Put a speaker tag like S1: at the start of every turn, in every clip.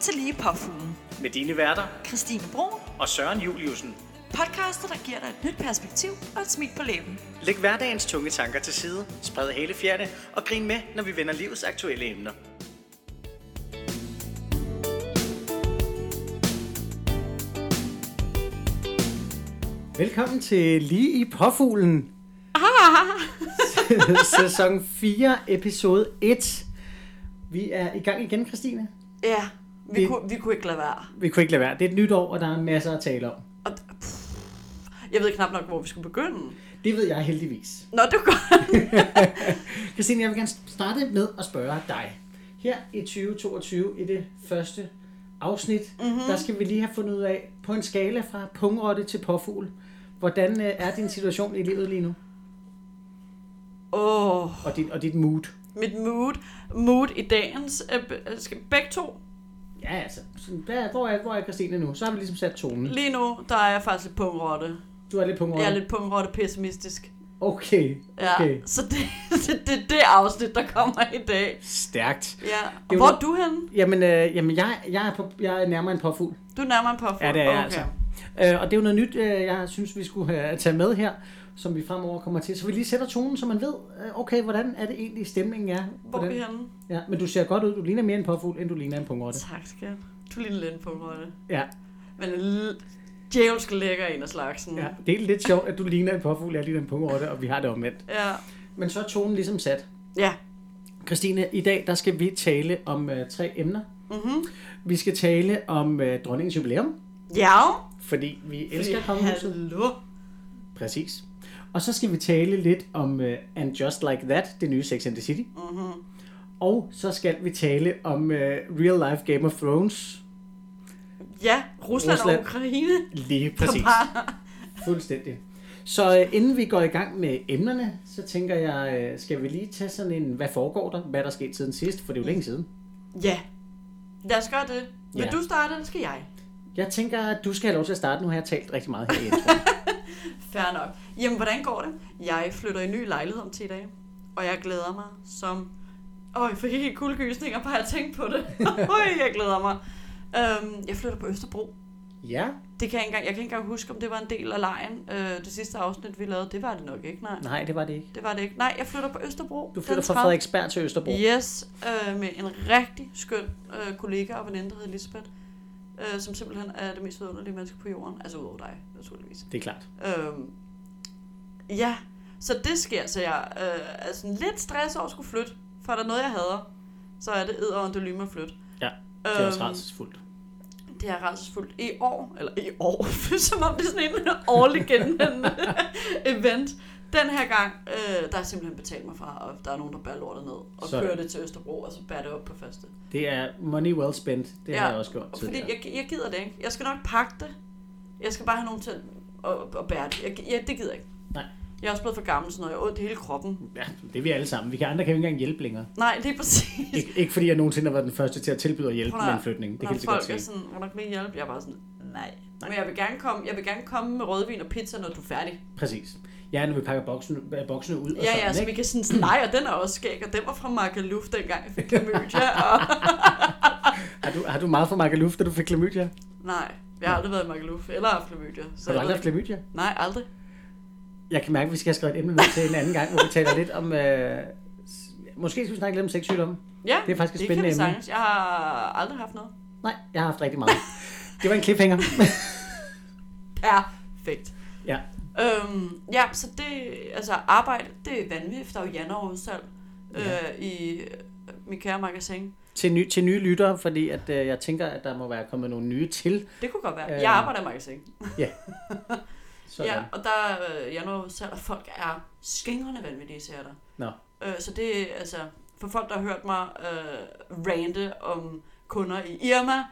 S1: tillige påfuglen.
S2: Med dine værter
S1: Christine Brun,
S2: og Søren Juliusen.
S1: podcaster, der giver dig et nyt perspektiv og et smil på læben.
S2: Læg hverdagens tunge tanker til side, spred hele fjerne og grin med, når vi vender livets aktuelle emner. Velkommen til Lige i Påfuglen. Ah. Sæson 4, episode 1. Vi er i gang igen, Christine.
S1: Ja, vi,
S2: Det-
S1: kunne, vi kunne ikke lade være.
S2: Vi kunne ikke lade være. Det er et nyt år, og der er masser at tale om.
S1: Og, pff, jeg ved knap nok, hvor vi skulle begynde.
S2: Det ved jeg heldigvis.
S1: Nå, du går.
S2: Christine, jeg vil gerne starte med at spørge dig. Her i 2022, i det første afsnit,
S1: Mhm.
S2: mm-hmm. der skal vi lige have fundet ud af, på en skala fra pungrotte til påfugl, hvordan øh, er din situation i livet lige nu?
S1: Åh, oh,
S2: Og, din, og dit mood?
S1: mit mood. Mood i dagens. øh, be- skal begge to.
S2: Ja, altså, sådan, hvad, hvor, er, hvor er Christine nu? Så har vi ligesom sat tonen.
S1: Lige nu, der er jeg faktisk lidt pungrotte.
S2: Du er lidt pungrotte.
S1: Mm. Jeg er lidt pungrotte pessimistisk.
S2: Okay,
S1: Ja,
S2: okay.
S1: så det, det, det er det afsnit, der kommer i dag.
S2: Stærkt.
S1: Ja. Og
S2: Det
S1: hvor
S2: var-
S1: er du henne?
S2: Jamen, øh, jamen jeg, jeg, er på, jeg er nærmere en påfugl.
S1: Du er nærmere en påfugl.
S2: Ja, det er jeg altså. Øh, og det er jo noget nyt, øh, jeg synes, vi skulle øh, tage med her, som vi fremover kommer til. Så vi lige sætter tonen, så man ved, øh, okay, hvordan er det egentlig, stemningen er.
S1: Hvor er vi
S2: Hvordan,
S1: henne?
S2: ja, men du ser godt ud. Du ligner mere en påfugl, end du ligner en pungrotte.
S1: Tak, skat. Du er lige lidt på mig.
S2: Ja,
S1: Men en l- djævelsk lækker en af slagsen.
S2: ja, det er lidt sjovt, at du ligner en påfugl, jeg ligner en pungrotte, og vi har det omvendt.
S1: Ja.
S2: Men så er tonen ligesom sat.
S1: Ja.
S2: Christine, i dag der skal vi tale om øh, tre emner.
S1: Mm-hmm.
S2: Vi skal tale om øh, dronningens jubilæum,
S1: Ja.
S2: fordi vi elsker kongehuset.
S1: Hallo.
S2: Præcis. Og så skal vi tale lidt om uh, And Just Like That, det nye Sex and the City. Mm-hmm. Og så skal vi tale om uh, Real Life Game of Thrones.
S1: Ja, Rusland, Rusland.
S2: Rusland.
S1: og Ukraine.
S2: Lige præcis. Fuldstændig. Så uh, inden vi går i gang med emnerne, så tænker jeg, uh, skal vi lige tage sådan en, hvad foregår der? Hvad er der sket siden sidst? For det er jo længe siden.
S1: Ja. Lad os gøre det. Vil
S2: Ja.
S1: du starte, eller skal jeg?
S2: Jeg tænker, at du skal have lov til at starte. Nu har jeg talt rigtig meget her i introen.
S1: Fair nok. Jamen, hvordan går det? Jeg flytter i ny lejlighed om 10 dage, og jeg glæder mig som... Åh, jeg fik helt kuldegysninger, bare jeg tænkte på det. Øj, jeg glæder mig. Øhm, jeg flytter på Østerbro.
S2: Ja,
S1: Det kan jeg, ikke engang, jeg kan ikke engang huske, om det var en del af lejen. Øh, det sidste afsnit, vi lavede, det var det nok ikke, nej.
S2: nej, det var det ikke.
S1: Det var det ikke. Nej, jeg flytter på Østerbro.
S2: Du flytter
S1: den
S2: fra
S1: 30.
S2: Frederiksberg til Østerbro.
S1: Yes, øh, med en rigtig skøn øh, kollega og veninde, der hedder Elisabeth, øh, som simpelthen er det mest vidunderlige menneske på jorden. Altså udover dig, naturligvis.
S2: Det er klart.
S1: Øhm, ja, så det sker, så jeg øh, er sådan lidt stress over at skulle flytte, for er der noget, jeg hader, så er det edderundolyme at flytte.
S2: Ja, Det
S1: Øhm.
S2: er også rædselsfuldt.
S1: Det er rædselsfuldt. I år, eller i år, som om det er sådan en årlig genvendende øh, event. Den her gang, øh, der er simpelthen betalt mig fra, og der er nogen, der bærer lortet ned, og
S2: Sådan.
S1: kører det til Østerbro, og så bærer det op på første.
S2: Det er money well spent. Det
S1: Ja,
S2: har jeg også gjort
S1: Og Fordi
S2: tidligere.
S1: jeg, jeg gider det ikke. Jeg skal nok pakke det. Jeg skal bare have nogen til at, at, at bære det. Jeg, ja, det gider jeg ikke.
S2: Nej.
S1: Jeg er også blevet for gammel, så når jeg har ondt i hele kroppen.
S2: Ja, det er vi alle sammen. Vi kan andre kan jo ikke engang hjælpe længere.
S1: Nej, det er præcis.
S2: Ik- ikke fordi jeg nogensinde har været den første til at tilbyde at hjælpe
S1: Prøv at-
S2: med en flytning. Det
S1: Når
S2: kan lige så godt
S1: folk er
S2: ske.
S1: sådan, hvor nok med hjælp, jeg er bare sådan, nej.
S2: Nej.
S1: Men jeg vil, gerne komme, jeg vil gerne komme med rødvin og pizza, når du er færdig.
S2: Præcis. Ja, når vi pakker boksene, øh, boksene ud og
S1: Ja,
S2: sådan,
S1: ja, så vi
S2: ikke?
S1: kan sådan, sådan, nej, og den er også skæg, og den var fra Magaluf, dengang jeg fik klamydia, og
S2: Har du, har du meget for Magaluf, da du fik klamydia? Har
S1: nej, jeg har aldrig været i Magaluf, eller haft klamydia. Så
S2: du
S1: jeg ved
S2: aldrig haft
S1: ikke-
S2: klamydia?
S1: Nej, aldrig.
S2: Jeg kan mærke, at vi skal have skrevet et emne ned til en anden gang, hvor vi taler lidt om... Øh, s- måske skal vi snakke lidt om sexsygdomme.
S1: Ja,
S2: Det er faktisk et
S1: det kan
S2: spændende
S1: vi
S2: emne.
S1: sagtens. Jeg har aldrig haft noget.
S2: Nej, jeg har haft rigtig meget. Det var en cliffhanger.
S1: Perfekt.
S2: Ja.
S1: Øhm, ja, så det, altså arbejde, det er vanvittigt, der er jo januarudsalg ja. øh, i øh, min kære magasin.
S2: til, ny, til nye lyttere, fordi at, øh, jeg tænker, at der må være kommet nogle nye til.
S1: Det kunne godt være.
S2: Øh.
S1: Jeg arbejder i magasin.
S2: Sådan.
S1: Ja, og der er øh, januarudsalg, og folk er skingrende vanvittige, siger der.
S2: Nå.
S1: Øh, så det er, altså, for folk, der har hørt mig øh, rante om kunder i Irma,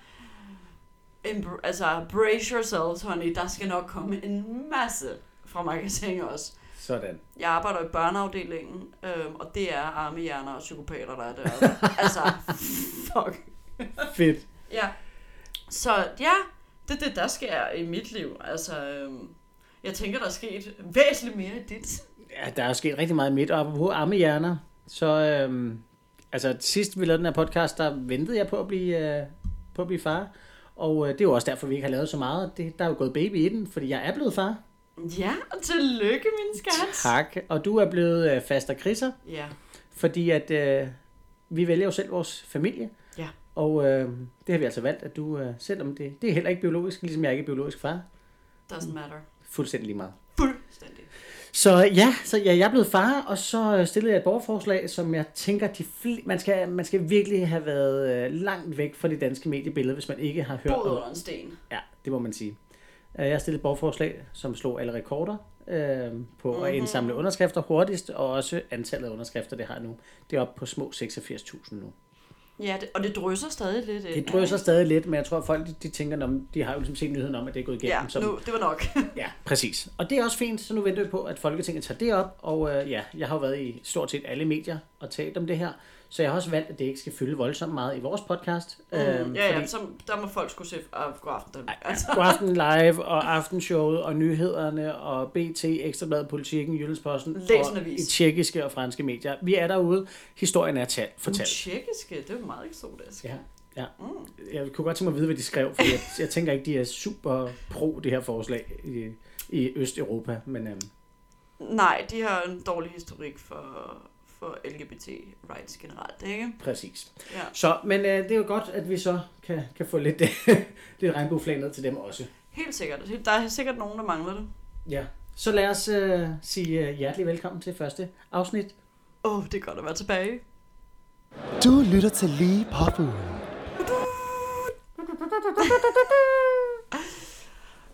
S1: embr- altså, brace yourselves, honey, der skal nok komme en masse fra magasin også.
S2: Sådan.
S1: Jeg arbejder i børneafdelingen, øhm, og det er armehjerner og psykopater, der er der. altså, fuck.
S2: Fedt.
S1: Ja. Så ja, det er det, der sker i mit liv. Altså, øhm, jeg tænker, der er sket væsentligt mere i dit.
S2: Ja, der er jo sket rigtig meget i midt, og apropos armehjerner, så øhm, altså sidst vi lavede den her podcast, der ventede jeg på at blive øh, på at blive far. Og øh, det er jo også derfor, vi ikke har lavet så meget. Det, der er jo gået baby i den, fordi jeg er blevet far.
S1: Ja, og tillykke, min skat.
S2: Tak. Og du er blevet øh, faster kriser,
S1: Ja,
S2: fordi at øh, vi vælger jo selv vores familie.
S1: ja.
S2: Og øh, det har vi altså valgt, at du, øh, selvom det, det er heller ikke biologisk, ligesom jeg ikke er biologisk far,
S1: Doesn't matter.
S2: fuldstændig lige meget.
S1: Mm. Fuldstændig.
S2: Så ja, så ja, jeg er blevet far, og så øh, stillede jeg et borgerforslag, som jeg tænker, de fl- man, skal, man skal virkelig have været øh, langt væk fra det danske mediebillede, hvis man ikke har hørt
S1: Boet
S2: om
S1: under en sten.
S2: Ja, det må man sige. Øh, Jeg stillede et borgerforslag, som slog alle rekorder øh, på mm-hmm.
S1: Mhm.
S2: at indsamle underskrifter hurtigst, og også antallet af underskrifter, det har nu. Det er oppe på små 86.000 nu.
S1: Ja, det, og det drøser stadig lidt. øh,
S2: Det drøser stadig lidt, men jeg tror, at folk de, de tænker, om de har jo ligesom set nyheden om, at det er gået igennem.
S1: Ja,
S2: som,
S1: nu, det var nok.
S2: Ja, præcis. Og det er også fint, så nu venter vi på, at Folketinget tager det op. Og øh, ja, jeg har jo været i stort set alle medier og talt om det her, så jeg har også valgt, at det ikke skal fylde voldsomt meget i vores podcast. Mm,
S1: Øhm, ja, ja, så, der må folk skulle se af god aften. Danmark. Altså,
S2: God aften live og aftenshowet og nyhederne og BT, Ekstrabladet, Politikken, Jyllandsposten
S1: Læs en
S2: og
S1: avis.
S2: i tjekkiske og franske medier. Vi er derude. Historien er talt,
S1: den
S2: fortalt.
S1: tjekkiske, det er jo meget eksotisk. Mm.
S2: Ja, ja. Jeg kunne godt tænke mig at vide, hvad de skrev, for jeg, jeg tænker ikke, de er super pro det her forslag i, i Østeuropa. Men øhm,
S1: Nej, de har en dårlig historik for, for LGBT rights generelt, ikke?
S2: præcis.
S1: Ja.
S2: Så, men øh, det er jo godt, at vi så kan, kan få lidt, lidt regnbueflag ned til dem også.
S1: Helt sikkert. Der er sikkert nogen, der mangler det.
S2: Ja. Så lad os øh, sige øh, hjertelig velkommen til første afsnit.
S1: Åh, oh, det er godt at være tilbage.
S3: Du lytter til Lige Påfuglen.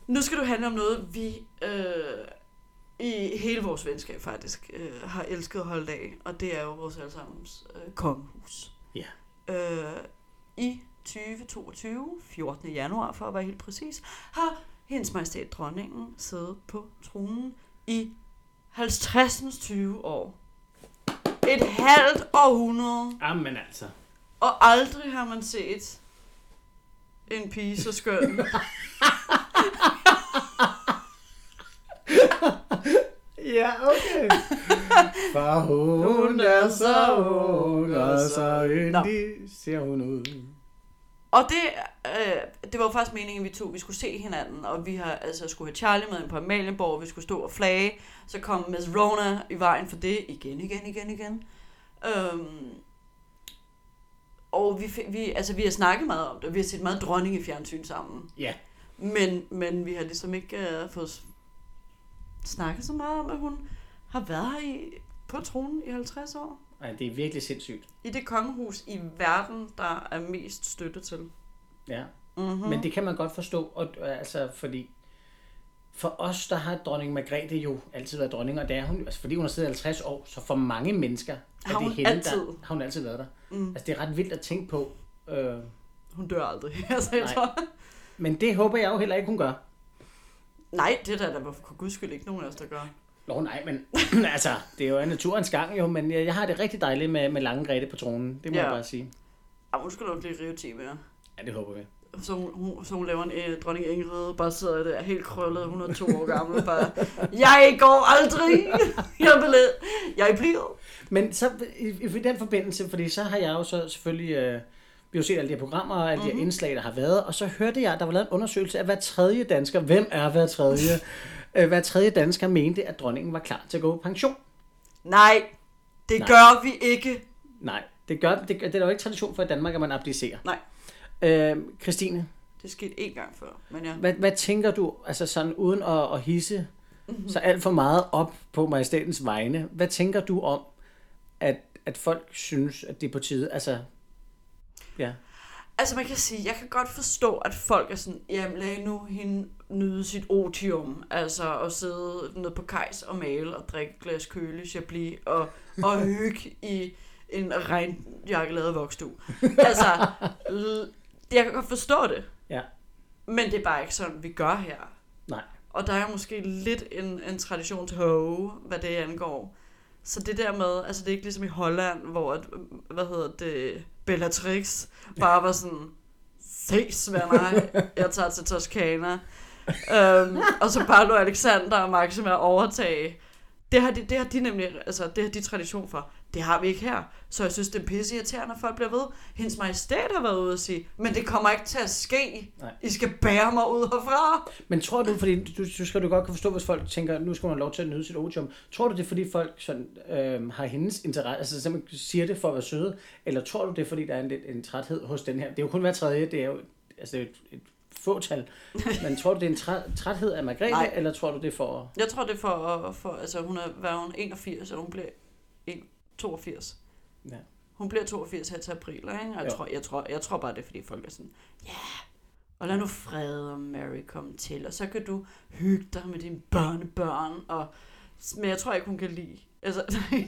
S1: Nu skal du handle om noget, vi øh, i hele vores venskab faktisk øh, har elsket at holde af, og det er jo vores allesammens øh, kongehus.
S2: Ja.
S1: Øh, I 2022, 14. januar for at være helt præcis, har hendes majestæt dronningen siddet på tronen i 50. 20 år. Et halvt århundrede.
S2: Amen altså.
S1: Og aldrig har man set en pige så skøn.
S2: Ja, okay. For hun
S1: er så ung, og så
S2: yndig ser hun ud.
S1: Og det, øh, det var jo faktisk meningen, at vi to vi skulle se hinanden, og vi har altså skulle have Charlie med ind på Amalienborg, vi skulle stå og flage, så kom Miss Rona i vejen for det igen, igen, igen, igen. Øhm, og vi, fi- vi, altså, vi har snakket meget om det, vi har set meget dronning i fjernsyn sammen,
S2: Ja,
S1: men, men vi har ligesom ikke øh, fået s- snakket så meget om, at hun har været her i, på tronen i 50 år.
S2: Ej, det er virkelig sindssygt.
S1: I det kongehus i verden, der er mest støtte til.
S2: Ja.
S1: Mm-hmm.
S2: Men det kan man godt forstå, og, øh, altså, fordi for os, der har dronning Margrethe jo altid været dronning, og det er hun, altså, fordi hun har siddet i 50 år, så for mange mennesker
S1: Har
S2: er
S1: hun
S2: det hende,
S1: altid?
S2: der har hun altid været der. Mm. Altså, det er ret vildt at tænke på. Øh,
S1: Hun dør aldrig. altså, jeg
S2: Nej.
S1: tror...
S2: men det håber jeg jo heller ikke, hun gør.
S1: Nej, det er der, der var for guds skyld ikke nogen af os, der gør.
S2: Nå nej, men altså, det er jo naturens gang jo, men jeg, jeg har det rigtig dejligt med, med lange Grete på tronen, det må
S1: Ja.
S2: ja. jeg bare sige.
S1: Ah, hun skal nok blive rive 10 mere.
S2: Ja, det håber vi.
S1: Så hun, hun, så hun laver en øh, dronning Ingrid, bare sidder der helt krøllet, 102 år gammel, bare, jeg går aldrig, jeg, bliver, jeg bliver.
S2: Men så i, i i den forbindelse, fordi så har jeg jo så selvfølgelig, øh, vi har jo set alle de her programmer og alle mm-hmm. de her indslag, der har været, og så hørte jeg, at der var lavet en undersøgelse af hver tredje dansker, hvem er hver tredje, øh, hver tredje dansker mente, at dronningen var klar til at gå på pension.
S1: Nej, det
S2: Nej.
S1: Nej. gør vi ikke.
S2: Nej, det, gør, det, det er der jo ikke tradition for i Danmark, at man abdicerer.
S1: Nej,
S2: Øh, Christine,
S1: det skete én gang før, men ja.
S2: hvad, hvad tænker du, altså sådan uden at, at hisse så alt for meget op på majestætens vegne, hvad tænker du om, at, at folk synes, at det er på tide, altså, ja.
S1: Altså man kan sige, jeg kan godt forstå, at folk er sådan, jamen lad nu hende nyde sit otium, altså at sidde nede på kajs og male og drikke et glas køle, chablis og, og hygge i en regnjakke lavet af vokstue. Altså, l- jeg kan godt forstå det,
S2: ja.
S1: men det er bare ikke sådan, vi gør her.
S2: Nej.
S1: Og der er måske lidt en, en tradition til hoge, hvad det angår. Så det der med, altså det er ikke ligesom i Holland, hvor, at, hvad hedder det, Bellatrix bare var sådan, ses venner, jeg tager til Toskana. øhm, og så bare lå Alexander og Maxima overtage. Det har, de, det har de nemlig, altså det har de tradition for. Det har vi ikke her. Så jeg synes, det er pisse irriterende, at folk bliver ved. Hendes majestæt har været ude og sige, men det kommer ikke til at ske.
S2: Nej.
S1: I skal bære mig ud herfra.
S2: Men tror du, fordi du, du skal du godt kan forstå, hvis folk tænker, nu skal man have lov til at nyde sit otium. Tror du, det er, fordi folk sådan, øhm, har hendes interesse, altså simpelthen siger det for at være søde? Eller tror du, det er, fordi der er en, lidt en træthed hos den her? Det er jo kun hver tredje, det er jo altså, det er jo et, et fåtal. Men tror du, det er en træ, træthed af Margrethe,
S1: Nej.
S2: Nej. eller tror du, det er for...
S1: Jeg tror, det er for, for altså hun er, hvad er hun, 81, og hun bliver en- 82.
S2: Ja.
S1: Hun bliver 82 her til april, ikke? Og jeg,
S2: Jo.
S1: tror, jeg, tror, jeg tror bare, det er, fordi folk er sådan, ja, yeah, og lad nu fred og Mary komme til, og så kan du hygge dig med dine børnebørn, og, men jeg tror ikke, hun kan lide, altså,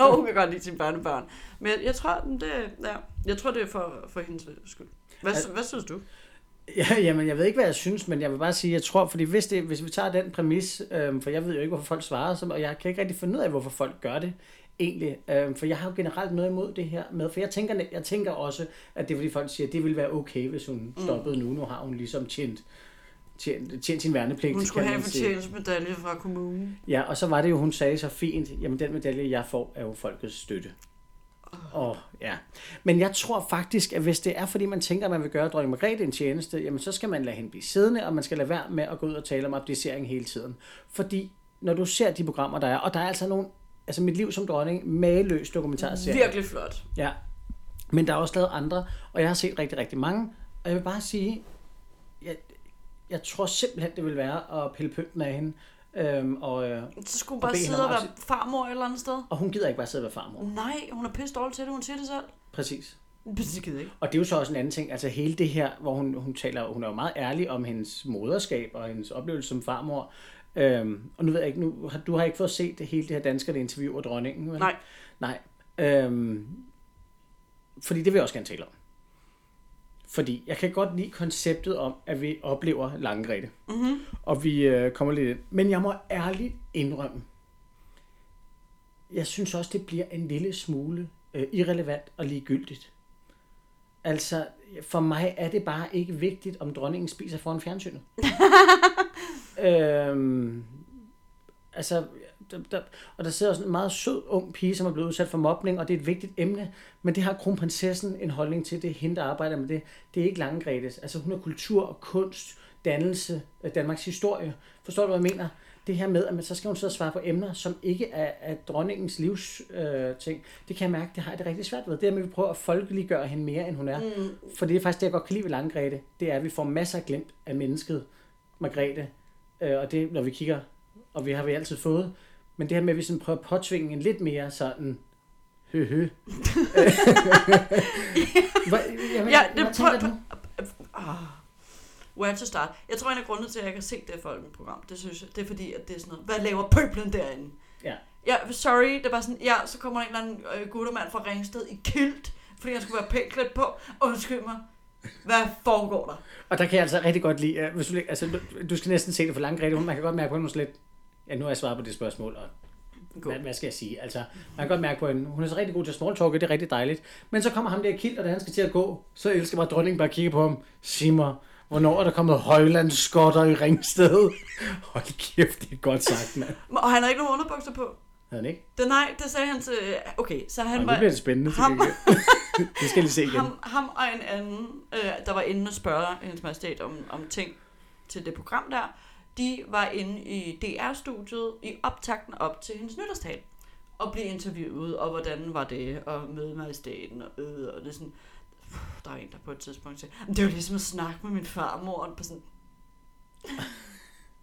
S1: jo, hun kan godt lide sine børnebørn, men jeg, jeg tror, den- det, ja, jeg tror, det er for, for hendes skyld. Hvad,
S2: Altså-
S1: hvad synes du?
S2: Ja, jamen, jeg ved ikke, hvad jeg synes, men jeg vil bare sige, jeg tror, fordi hvis, det, hvis vi tager den præmis, øhm, for jeg ved jo ikke, hvorfor folk svarer, som, og jeg kan ikke rigtig finde ud af, hvorfor folk gør det egentlig, øhm, for jeg har jo generelt noget imod det her med, for jeg tænker, jeg tænker også, at det er fordi folk siger, at det ville være okay, hvis
S1: Mm.
S2: hun stoppede nu, nu har hun ligesom tjent, tjent, tjent sin værnepligt.
S1: Hun skulle
S2: kan
S1: have en
S2: man sige.
S1: fortjenstmedalje fra kommunen.
S2: Ja, og så var det jo, hun sagde så fint, jamen den medalje, jeg får, er jo folkets støtte. Åh, oh, ja. Men jeg tror faktisk, at hvis det er, fordi man tænker, at man vil gøre dronning Margrethe en tjeneste, jamen så skal man lade hende blive siddende, og man skal lade være med at gå ud og tale om abdicering hele tiden. Fordi når du ser de programmer, der er, og der er altså nogle, altså mit liv som dronning, mageløs dokumentarserie.
S1: Virkelig flot.
S2: Ja. Men der er også lavet andre, og jeg har set rigtig, rigtig mange. Og jeg vil bare sige, jeg, jeg tror simpelthen, det vil være at pille pynten af hende. Øhm, og, øh,
S1: Så skulle hun
S2: Og
S1: bare
S2: bede hende
S1: sidde og
S2: om at
S1: være farmor et eller andet sted.
S2: og hun gider ikke bare sidde og være farmor.
S1: Nej, hun er pisse dårlig til det, hun siger det selv.
S2: Præcis.
S1: Det gider ikke.
S2: Og det er jo så også en anden ting, altså hele det her, hvor hun, hun taler, hun er jo meget ærlig om hendes moderskab og hendes oplevelse som farmor. Øhm, og nu ved jeg ikke, nu, har- du har ikke fået set det, hele det her danskerne interviewer dronningen, vel?
S1: Nej.
S2: Nej. Øhm, fordi det vil jeg også gerne tale om. Fordi jeg kan godt lide konceptet om, at vi oplever Langrette.
S1: Mm-hmm.
S2: Og vi øh, kommer lidt ind. Men jeg må ærligt indrømme, jeg synes også, det bliver en lille smule øh, irrelevant og ligegyldigt. Altså, for mig er det bare ikke vigtigt, om dronningen spiser foran fjernsynet. øhm, altså, der, der, og der sidder også en meget sød ung pige, som er blevet udsat for mobning, og det er et vigtigt emne, men det har kronprinsessen en holdning til, det er hende, der arbejder med det. Det er ikke Langgretes. Altså, hun er kultur og kunst, dannelse, øh, Danmarks historie. Forstår du, hvad jeg mener? Det her med, at man, så skal hun sidde og svare på emner, som ikke er, er dronningens livs øh, ting. Det kan jeg mærke, det har jeg det rigtig svært ved. Det er med, at vi prøver at folkeliggøre hende mere, end hun er.
S1: Mm.
S2: For det er faktisk det, jeg godt kan lide ved Langgrete. Det er, at vi får masser af glemt af mennesket, Margrethe. Øh, og det, når vi kigger, og vi har vi altid fået. Men det her med, at vi sådan prøver at påtvinge en lidt mere sådan... Hø, hø. Hvad, jamen,
S1: Ja,
S2: ja,
S1: det
S2: det hvad
S1: prøver-
S2: tænker du?
S1: Ah. Where to start? Jeg tror, en af grundene til, at jeg ikke har set det folkeprogram, det synes jeg, det er fordi, at det er sådan noget, hvad laver pøblen derinde?
S2: Ja.
S1: Ja, sorry, det var sådan, ja, så kommer der en eller anden øh, guttermand fra Ringsted i kilt, fordi han skulle være pænt klædt på. Undskyld mig, hvad foregår der?
S2: Og der kan jeg altså rigtig godt lide... øh, Hvis du, læ- altså, du- du skal næsten se det for Langgrete. Hun- Man kan godt mærke på hende, hun er sådan lidt... Ja, nu har jeg svaret på det spørgsmål, og Hvad, hvad skal jeg sige? Altså, man kan godt mærke på hende. Hun er så rigtig god til small talk, og det er rigtig dejligt. Men så kommer ham der kilt, og da han skal til at gå, så elsker mig dronningen bare at kigge på ham. Sig mig, hvornår er der kommet højlandsskotter i Ringsted? Hold kæft, det er godt sagt, mand.
S1: Og han har ikke nogen underbukser på.
S2: Havde han ikke?
S1: Det, nej, det sagde han til... øh, Okay, så han
S2: Og nu
S1: var...
S2: bliver det spændende. til
S1: ham-
S2: gengæld. det skal jeg lige se igen.
S1: Ham, ham og en anden, øh, der var inde og spørge hendes majestæt om, om ting til det program der, de var inde i DR-studiet i optakten op til hendes nytårstal og blev interviewet, og hvordan var det at møde majestæten, og, øh, og det er sådan, der er en, der på et tidspunkt siger, "Men det er jo ligesom at snakke med min farmor, og på sådan,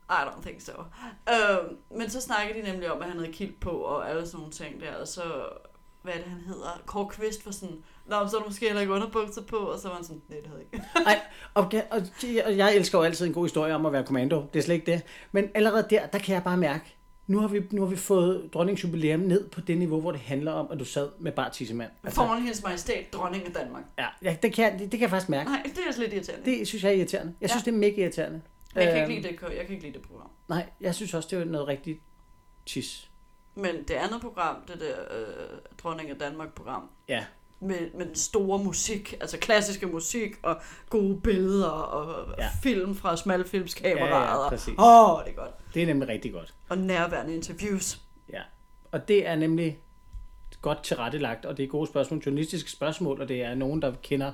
S1: I don't think so. Øh, men så snakkede de nemlig om, at han havde kilt på, og alle sådan nogle ting der, og så, hvad er det, han hedder, Kåre Kvist var sådan, Nå, men så er der måske heller ikke underbukser på, og så var han sådan, nej, det havde jeg ikke.
S2: Ej, og, kan- og, og jeg elsker jo altid en god historie om at være kommando. Det er slet ikke det. Men allerede der, der kan jeg bare mærke, nu har vi, nu har vi fået dronningens jubilæum ned på det niveau, hvor det handler om, at du sad med bare tissemand.
S1: Altså... Foran hendes majestæt, dronning af Danmark.
S2: ja, ja, det, kan, jeg- det, det kan jeg faktisk mærke.
S1: Nej, det er slet irriterende. Det...
S2: Det synes jeg er irriterende. Jeg synes, ja. det er mega irriterende.
S1: Jeg kan
S2: Øhm,
S1: ikke lide det, jeg kan ikke lide det program.
S2: Nej, jeg synes også, det er noget rigtigt tis.
S1: Men det andet program, det der øh, dronning af Danmark program,
S2: Ja.
S1: med, med den store musik, altså klassiske musik, og gode billeder, og ja.
S2: Ja,
S1: film fra smalfilmskameraet.
S2: Ja, ja,
S1: og-
S2: præcis.
S1: Åh, oh, det er godt.
S2: Det er nemlig rigtig godt.
S1: Og nærværende interviews.
S2: Ja. Og det er nemlig godt tilrettelagt, og det er gode spørgsmål, journalistiske spørgsmål, og det er nogen, der kender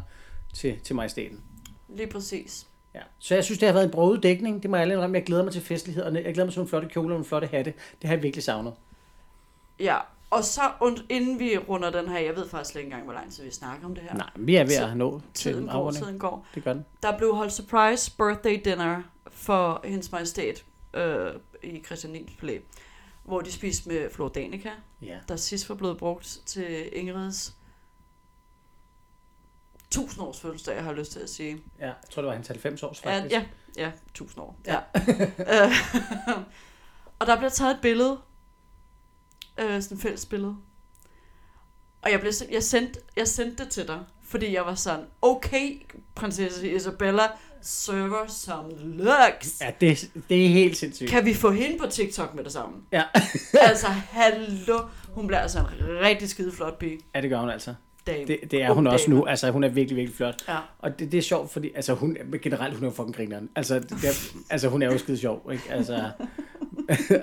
S2: til, til majestæten.
S1: Lige præcis.
S2: Ja. Så jeg synes, det har været en broget dækning. Det må jeg alle indrømme. Jeg glæder mig til festlighederne. Jeg glæder mig til nogle flotte kjoler og nogle flotte hatte. Det har jeg virkelig savnet.
S1: Ja, og så und, inden vi runder den her, jeg ved faktisk slet ikke engang, hvor lang tid vi snakker om det her.
S2: Nej, vi er ved
S1: Tid-
S2: at nå til
S1: tiden
S2: en
S1: går,
S2: afrunding.
S1: tiden går.
S2: Det gør den.
S1: Der blev holdt surprise birthday dinner for hendes majestæt øh, i Christianins Palæ, hvor de spiste med Flor Danica,
S2: Ja.
S1: der sidst var blevet brugt til Ingrids 1000 års fødselsdag, jeg har lyst til at sige.
S2: ja. Jeg tror, det var hans 90 års
S1: Ja,
S2: faktisk.
S1: ja, ja, 1000 år. Ja. Øh, og der bliver taget et billede, øh, sådan et fælles billede. Og jeg, blev, sim- jeg, sendte, jeg sendte det til dig, fordi jeg var sådan, okay, prinsesse Isabella server some looks.
S2: ja det, det er helt sindssygt.
S1: Kan vi få hende på TikTok med det samme?
S2: Ja.
S1: altså, hallo. Hun bliver altså en rigtig skide flot pige.
S2: Ja, det gør hun altså.
S1: Dame.
S2: Det, det er
S1: Ung
S2: hun også
S1: dame.
S2: nu. Altså, hun er virkelig, virkelig flot.
S1: Ja.
S2: Og det, det er sjovt, fordi altså, hun, generelt hun er jo fucking grineren. Altså, det er, altså hun er jo skide sjov, ikke? Altså,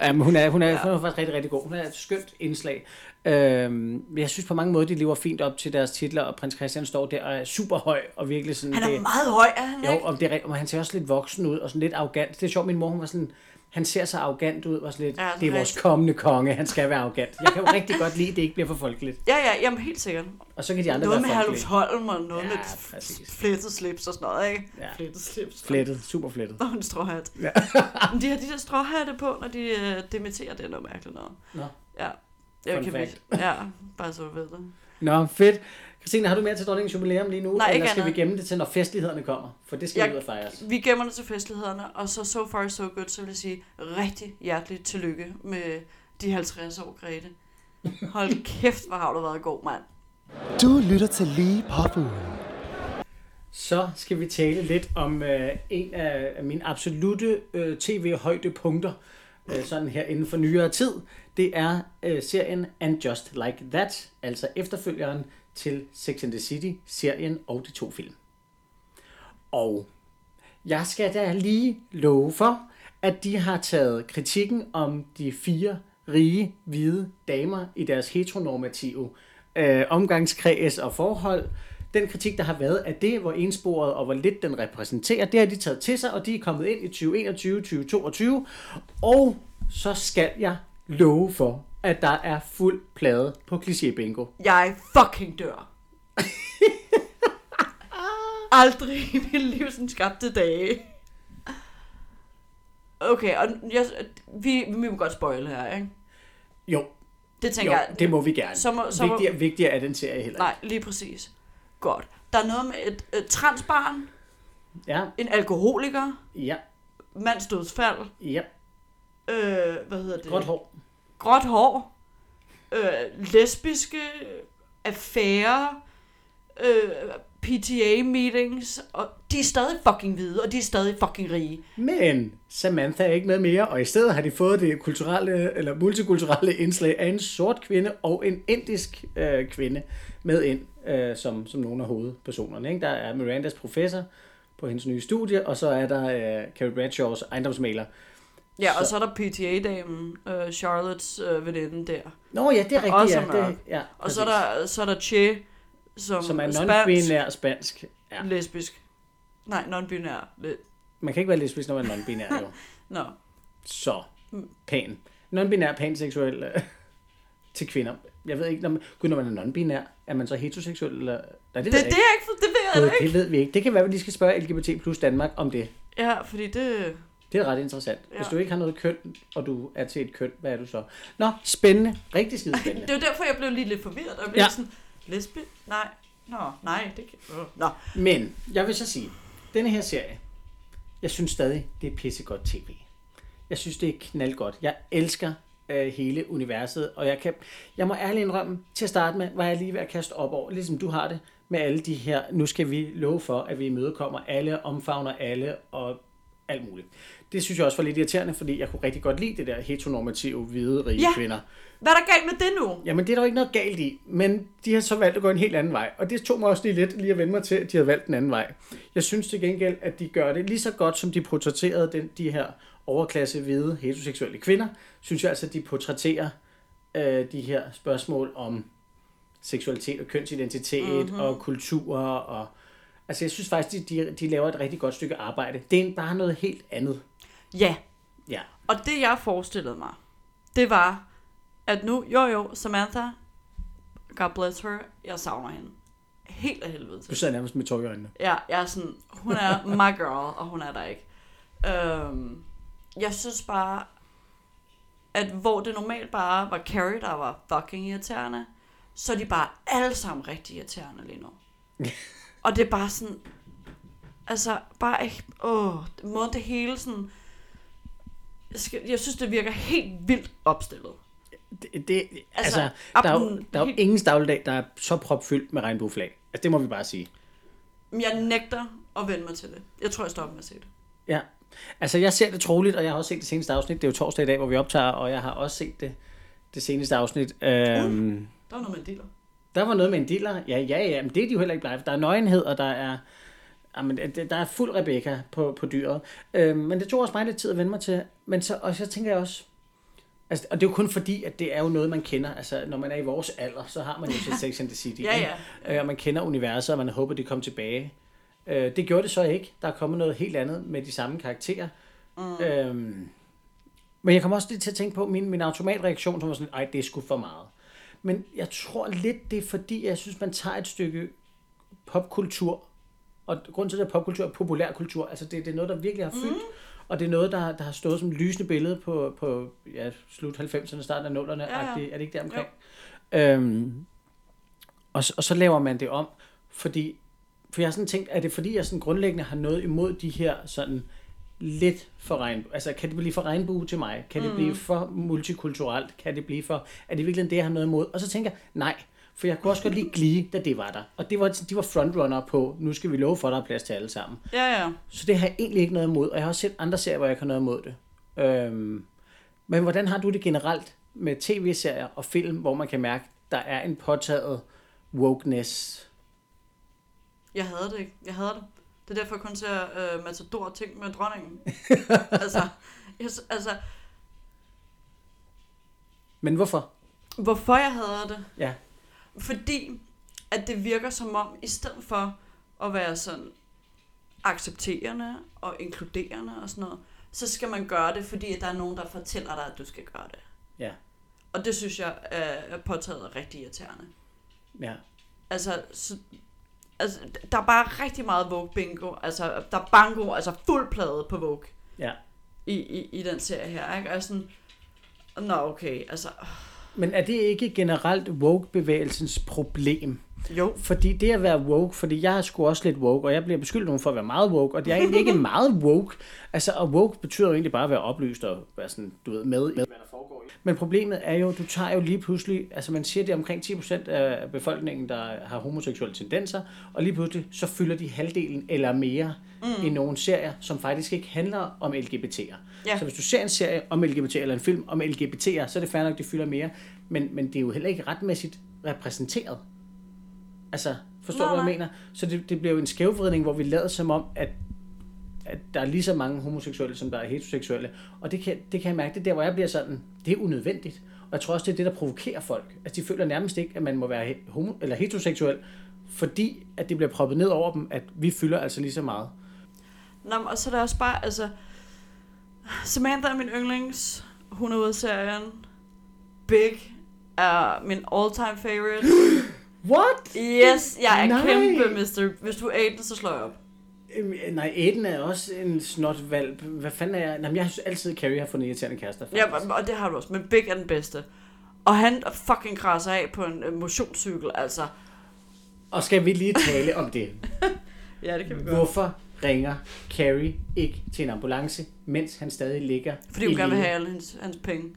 S2: jamen, hun, er, hun, er, hun er faktisk rigtig, rigtig god. Hun er et skønt indslag. Øhm, jeg synes på mange måder, de lever fint op til deres titler, og prins Christian står der og er super høj, og virkelig sådan...
S1: Han er
S2: det,
S1: meget høj, er han
S2: jo,
S1: ikke?
S2: og, det er, rigt- og han ser også lidt voksen ud, og sådan lidt arrogant. Det er sjovt, min mor, hun var sådan, han ser så arrogant ud, og sådan lidt,
S1: Ja,
S2: ja,
S1: sådan
S2: det er vores
S1: rigtig-
S2: kommende konge, han skal være arrogant. Jeg kan jo rigtig godt lide, at det ikke bliver for folkeligt.
S1: Ja, ja, jamen helt sikkert.
S2: Og så kan de andre
S1: Noget med
S2: være folkelige.
S1: Herlufsholm og noget
S2: Ja,
S1: ja, med
S2: præcis.
S1: flettet slips og sådan noget, ikke?
S2: Ja.
S1: Flettet slips.
S2: Flettet, super flettet.
S1: Og en stråhat.
S2: Ja.
S1: Men de har de der stråhatte på, når de øh, demitterer det er noget mærkeligt noget.
S2: Nå.
S1: Ja. Jeg
S2: Fun
S1: kan
S2: fact.
S1: virkelig- Ja, bare så du ved det.
S2: Nå, fedt. Christine, har du mere til dronningens jubilæum lige nu?
S1: Nej,
S2: eller
S1: ikke
S2: skal
S1: andet.
S2: vi gemme det til, når festlighederne kommer? For det skal
S1: Jeg-
S2: jeg... ud og fejres.
S1: Vi gemmer det til festlighederne, og så so far so good, så vil jeg sige rigtig hjerteligt tillykke med de 50 år, Grete. Hold kæft, hvor har du været god, mand.
S3: Du lytter til Lige Populen.
S2: Så skal vi tale lidt om øh, en af mine absolute øh, tv-højdepunkter, øh, sådan her inden for nyere tid. Det er øh, serien And Just Like That, altså efterfølgeren til Sex and the City-serien og de to film. Og jeg skal da lige love for, at de har taget kritikken om de fire rige, hvide damer i deres heteronormative øh, omgangskreds og forhold. Den kritik, der har været af det, hvor ensporet og hvor lidt den repræsenterer, det har de taget til sig, og de er kommet ind i 2021, 2022. Og så skal jeg love for, at der er fuld plade på kliché bingo.
S1: Jeg fucking dør. Aldrig i mit livs skabte dage. Okay, og jeg, vi, vi må godt spoil her, ikke?
S2: Jo,
S1: Det tænker
S2: jo
S1: jeg.
S2: det må vi gerne.
S1: Så må- så må-
S2: vigtigere, vigtigere er den serie heller
S1: Nej, lige præcis. Godt. Der er noget med et, et transbarn,
S2: ikke. Ja,
S1: en alkoholiker,
S2: ja,
S1: mandsdødsfald,
S2: ja.
S1: øh, hvad hedder det?
S2: Godt hår.
S1: Gråt hår øh, lesbiske affærer, øh, PTA-meetings, og de er stadig fucking hvide, og de er stadig fucking rige.
S2: Men Samantha er ikke med mere, og i stedet har de fået det kulturelle, eller multikulturelle indslag af en sort kvinde og en indisk øh, kvinde med ind øh, som, som nogle af hovedpersonerne. Ikke? Der er Mirandas professor på hendes nye studie, og så er der øh, Carrie Bradshaws ejendomsmaler.
S1: Ja, og
S2: Så-
S1: så er der PTA-damen, øh, Charlottes øh, veninde der.
S2: Nå ja, det er rigtigt.
S1: Også
S2: ja,
S1: mørk.
S2: det, ja,
S1: Og så er, der, så er der Che, som,
S2: som er
S1: spansk,
S2: non-binær spansk. Ja.
S1: lesbisk. Nej, non-binær. Le-
S2: Man kan ikke være lesbisk, når man er non-binær, jo.
S1: Nå,
S2: så pan. Non-binær, panseksuel øh, til kvinder. Jeg ved ikke, når man, gud, når man er non-binær, er man så heteroseksuel? Eller, nej, det,
S1: det,
S2: ved
S1: det,
S2: jeg
S1: det, er ikke, for- det ved jeg da
S2: ikke.
S1: ikke.
S2: det ved vi ikke. Det kan være, at vi lige skal spørge LGBT plus Danmark om det.
S1: Ja, fordi det...
S2: Det er ret interessant. Ja. Hvis
S1: Ja.
S2: du ikke har noget køn, og du er til et køn, hvad er du så? Nå, spændende. Rigtig skide spændende.
S1: Det var derfor, jeg blev lige lidt forvirret. Og blev
S2: Ja.
S1: ja. sådan, lesbisk? Nej. Nå, nej, det kan... øh, Nå,
S2: Men jeg vil så sige, denne her serie, jeg synes stadig, det er pissegodt tv. Jeg synes, det er knaldgodt. Jeg elsker øh, hele universet, og jeg, kan, jeg må ærligt indrømme, til at starte med, var jeg lige ved at kaste op over, ligesom du har det, med alle de her, nu skal vi love for, at vi imødekommer alle, omfavner alle, og alt muligt. Det synes jeg også var lidt irriterende, fordi jeg kunne rigtig godt lide det der heteronormative, hvide, rige
S1: Ja.
S2: ja. kvinder.
S1: Hvad er der galt med det nu?
S2: Jamen, det er der jo ikke noget galt i, men de har så valgt at gå en helt anden vej. Og det tog mig også lige lidt lige at vende mig til, at de har valgt den anden vej. Jeg synes til gengæld, at de gør det lige så godt, som de portrætterede den, de her overklasse hvide heteroseksuelle kvinder, synes jeg altså, at de portrætterer øh, de her spørgsmål om seksualitet og kønsidentitet mm-hmm. og kulturer. Og, altså jeg synes faktisk, de, de, de laver et rigtig godt stykke arbejde. Det er en- bare noget helt andet.
S1: Ja,
S2: Ja.
S1: og det jeg forestillede mig, det var, at nu, jo jo, Samantha, God bless her, jeg savner hende. Helt af helvede til.
S2: Du sidder nærmest med tår i øjnene.
S1: Ja, jeg er sådan, hun er my girl, og hun er der ikke. Øhm, jeg synes bare, at hvor det normalt bare var Carrie, der var fucking irriterende, så er de bare alle sammen rigtig irriterende lige nu. og det er bare sådan, altså bare ikke, åh, måden det hele sådan, jeg skal- jeg synes, det virker helt vildt opstillet.
S2: Det, det, altså,
S1: Altså,
S2: altså der, er jo,
S1: absolut
S2: der er jo
S1: helt-
S2: ingen dagligdag, der er så propfyldt med regnbueflag. Altså, det må vi bare sige.
S1: Men jeg nægter at vende mig til det. Jeg tror, jeg stopper med at se det.
S2: Ja. Altså, jeg ser det troligt, og jeg har også set det seneste afsnit. Det er jo torsdag i dag, hvor vi optager, og jeg har også set det, det seneste afsnit. Øhm, uh.
S1: Der var noget med dealer.
S2: Der var noget med en diller. Ja, ja, ja, men det er de jo heller ikke live. Der er nøgenhed, og der er, jamen, det- der er fuld Rebecca på, på dyret. Øhm, men det tog også mig lidt tid at vende mig til. Men så, og så tænker jeg også, altså, og det er jo kun fordi, at det er jo noget, man kender. Altså, når man er i vores alder, så har man jo set Sex and the City.
S1: Ja,
S2: ikke?
S1: ja.
S2: Øh, og man kender universet, og man håber, det kommer tilbage. Øh, det gjorde det så ikke. Der er kommet noget helt andet med de samme karakterer. Mm. Øhm, men jeg kom også lidt til at tænke på min, min automatreaktion, som var sådan, ej, det er sgu for meget. Men jeg tror lidt, det er fordi, jeg synes, man tager et stykke popkultur, og grunden til, at det er popkultur er populærkultur, altså det, det er noget, der virkelig har
S1: Mhm.
S2: fyldt, mm. og det er noget, der, der har stået som lysende billede på, på ja, slut 90'erne, starten af 0'erne, ja,
S1: Ja, ja.
S2: ja. er det ikke der omkring? Øhm, og, så- og så laver man det om, fordi, for jeg har sådan tænkt, er det fordi, jeg sådan grundlæggende har noget imod de her sådan lidt for regnbue, altså kan det blive for regnbue til mig? Kan det mm. blive for multikulturelt? Kan det blive for, er det virkelig det, jeg har noget imod? Og så tænker jeg, nej, for jeg kunne også godt lide Glee, da det var der. Og det var, de var frontrunner på, nu skal vi love for, at der er plads til alle sammen.
S1: Ja, ja.
S2: Så det har jeg egentlig ikke noget imod, og jeg har også set andre serier, hvor jeg ikke har noget imod det. Øhm, men hvordan har du det generelt med tv-serier og film, hvor man kan mærke, der er en påtaget wokeness?
S1: Jeg havde det ikke. Jeg havde det. Det er derfor, jeg kun ser øh, Matador ting med dronningen. altså, jeg, s- altså,
S2: Men hvorfor?
S1: hvorfor jeg havde det?
S2: Ja.
S1: Fordi, at det virker som om, i stedet for at være sådan accepterende og inkluderende og sådan noget, så skal man gøre det, fordi at der er nogen, der fortæller dig, at du skal gøre det.
S2: Ja.
S1: Og det synes jeg øh, er påtaget rigtig irriterende.
S2: Ja.
S1: Altså, så, altså, der er bare rigtig meget Vogue bingo. Altså, der er bango, altså fuld plade på Vogue.
S2: Ja.
S1: I, i, i den serie her, ikke? Og jeg er sådan, nå okay, altså,
S2: Men er det ikke generelt woke-bevægelsens problem?
S1: jo.
S2: Fordi det at være woke, fordi jeg er sgu også lidt woke, og jeg bliver beskyldt nogen for at være meget woke, og det er egentlig ikke meget woke. Altså, og woke betyder jo egentlig bare at være oplyst og være sådan, du ved, med, med hvad der foregår. Men problemet er jo, du tager jo lige pludselig, altså man siger, det er omkring 10% af befolkningen, der har homoseksuelle tendenser, og lige pludselig, så fylder de halvdelen eller mere mm. i nogle serier, som faktisk ikke handler om LGBT'er.
S1: Ja.
S2: Så hvis du ser en serie om LGBT eller en film om LGBT'er, så er det fair nok, at de fylder mere, men, men det er jo heller ikke retmæssigt repræsenteret. Altså, forstår
S1: Nej,
S2: du, hvad jeg
S1: nej.
S2: mener? Så det, det bliver jo en skævvridning, hvor vi lader som om, at, at der er lige så mange homoseksuelle, som der er heteroseksuelle. Og det kan, det kan jeg mærke, det er der, hvor jeg bliver sådan, det er unødvendigt. Og jeg tror også, det er det, der provokerer folk. Altså, de føler nærmest ikke, at man må være he- homo- eller heteroseksuel, fordi at det bliver proppet ned over dem, at vi fylder altså lige så meget.
S1: Nå, men, og så er der også bare, altså, Samantha er min yndlings, hun er ude af serien. Big er min all-time favorite.
S2: What?
S1: Yes, jeg er
S2: Nej.
S1: kæmpe, Mr. Hvis du er Aiden, så slår jeg op.
S2: Øhm, nej, Aiden er også en snotvalp. Hvad fanden er jeg? Jamen, jeg synes altid, at Carrie har fundet irriterende kærester.
S1: Ja,
S2: faktisk.
S1: og- og det har du også, men Big er den bedste. Og han fucking krasser af på en øh, motionscykel, altså.
S2: Og skal vi lige tale om det?
S1: Ja, det kan vi godt.
S2: Hvorfor ringer Carrie ikke til en ambulance, mens han stadig ligger
S1: Fordi
S2: i
S1: hun gerne vil
S2: live?
S1: have alle hans, hans penge.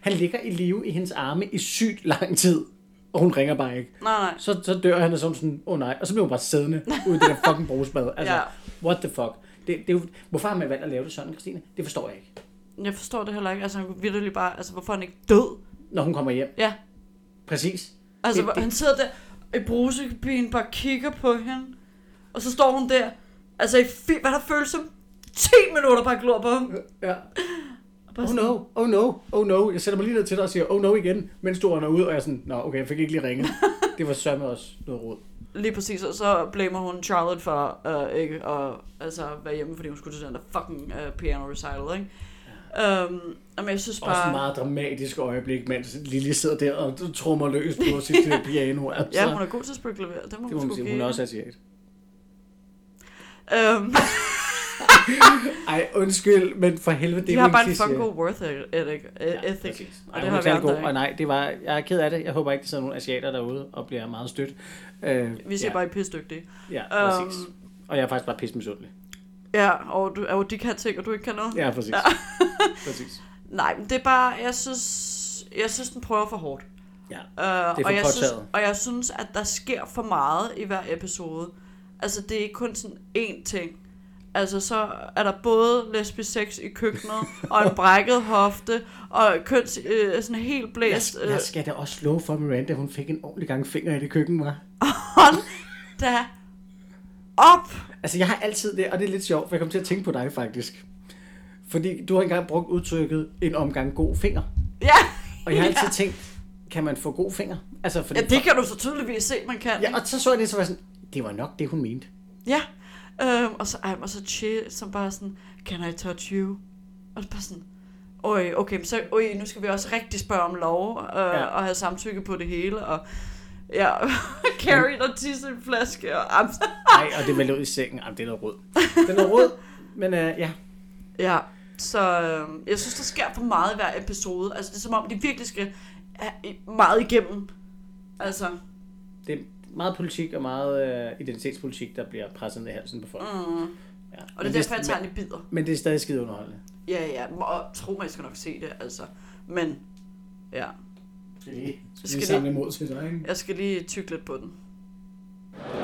S2: Han ligger i live i hendes arme i sygt lang tid, og hun ringer bare ikke.
S1: Nej, nej.
S2: Så, så dør han og så er hun sådan, åh oh, nej, og så bliver hun bare siddende ude i det der fucking brugsbad. Altså,
S1: Ja.
S2: what the fuck? Det, det, er jo- hvorfor har man valgt at lave det sådan, Christine? Det forstår jeg ikke.
S1: Jeg forstår det heller ikke. Altså, han kunne virkelig bare... Altså, hvorfor er han ikke død?
S2: Når hun kommer hjem.
S1: Ja.
S2: Præcis.
S1: Altså,
S2: Det-
S1: det, det. han sidder der i brusekabinen, bare kigger på hende. Og så står hun der. Altså, i fi, hvad der føles som 10 minutter bare glor på ham.
S2: Ja.
S1: Og bare
S2: Oh
S1: sådan,
S2: no, oh no, oh no. Jeg sætter mig lige ned til dig og siger, oh no igen, mens du runder ud, og jeg er sådan, nå okay, jeg fik ikke lige ringet. Det var sørme også noget råd.
S1: Lige præcis, og så blamer hun Charlotte for øh, ikke at altså, være hjemme, fordi hun skulle til den der fucking øh, piano recital, ikke? Ja. Øhm, men jeg synes
S2: Også et
S1: bare...
S2: meget dramatisk øjeblik, mens Lili sidder der og trummer løs på sit øh, piano. Altså.
S1: Ja, hun er god til at spille klaver, det må
S2: det må
S1: man
S2: man
S1: sgu
S2: sige. Hun er
S1: give.
S2: også asiat.
S1: Øhm,
S2: Ej, undskyld, men for helvede, det
S1: de
S2: er
S1: har
S2: jo
S1: bare
S2: en
S1: en
S2: kliché.
S1: fucking god worth ethic,
S2: Ja,
S1: ethic
S2: præcis.
S1: og
S2: Ej,
S1: det
S2: hun
S1: har
S2: er
S1: vi
S2: særlig god,
S1: andre
S2: og
S1: ikke.
S2: nej, det var, jeg er ked af det. Jeg håber ikke, der sidder nogen asiater derude og bliver meget stødt. Øh,
S1: Vi ser
S2: ja,
S1: bare, I er pissedygtige.
S2: Ja,
S1: Øhm,
S2: præcis. Og jeg er faktisk bare pisse misundelig.
S1: Ja, og, du, og de kan ting, og du ikke kan noget.
S2: Ja, præcis. præcis.
S1: Nej, men det er bare, jeg synes, jeg synes den prøver for hårdt.
S2: Ja,
S1: Uh, det er
S2: for
S1: og, jeg synes,
S2: påtaget.
S1: og jeg synes, at der sker for meget i hver episode. Altså, det er ikke kun sådan én ting. Altså, så er der både lesbisk sex i køkkenet, og en brækket hofte, og køns, øh, sådan helt
S2: Jeg,
S1: blæst. Øh,
S2: jeg skal da også slå for Miranda, hun fik en ordentlig gang finger i det køkken, var.
S1: hold da op!
S2: Altså, jeg har altid det, og det er lidt sjovt, for jeg kom til at tænke på dig faktisk. Fordi du har engang brugt udtrykket en omgang god finger.
S1: Ja,
S2: Og jeg har altid tænkt, kan man få god finger? Altså, fordi
S1: ja det kan du så tydeligvis se, man kan.
S2: ja, og så så jeg det, så var jeg sådan, det var nok det, hun mente.
S1: Ja, øhm, og så ej, og så chill, som bare sådan, can I touch you? Og så bare sådan, øj, okay, men så, øj, nu skal vi også rigtig spørge om lov, øh,
S2: Ja.
S1: ja. og have samtykke på det hele, og ja, Carrie, der tisser i en flaske, og altså." am,
S2: Nej, og det var ud i sengen. Jamen, det er noget råd. Det er noget råd, men øh, ja.
S1: ja, så øhm, jeg synes, der sker for meget i hver episode, altså det er som om, de virkelig skal have meget igennem, altså,
S2: Det er meget politik og meget øh, identitetspolitik, der bliver presset ned i halsen på folk. Mm. Ja.
S1: og
S2: Men
S1: det er derfor, jeg tager
S2: men,
S1: den i bidder.
S2: men det er stadig skide underholdende.
S1: Ja, ja, og tro mig, jeg skal nok se det, altså, men ja,
S2: Skal lige,
S1: Skal lige samle
S2: imod til dig, ikke?
S1: jeg skal lige tykke lidt på den.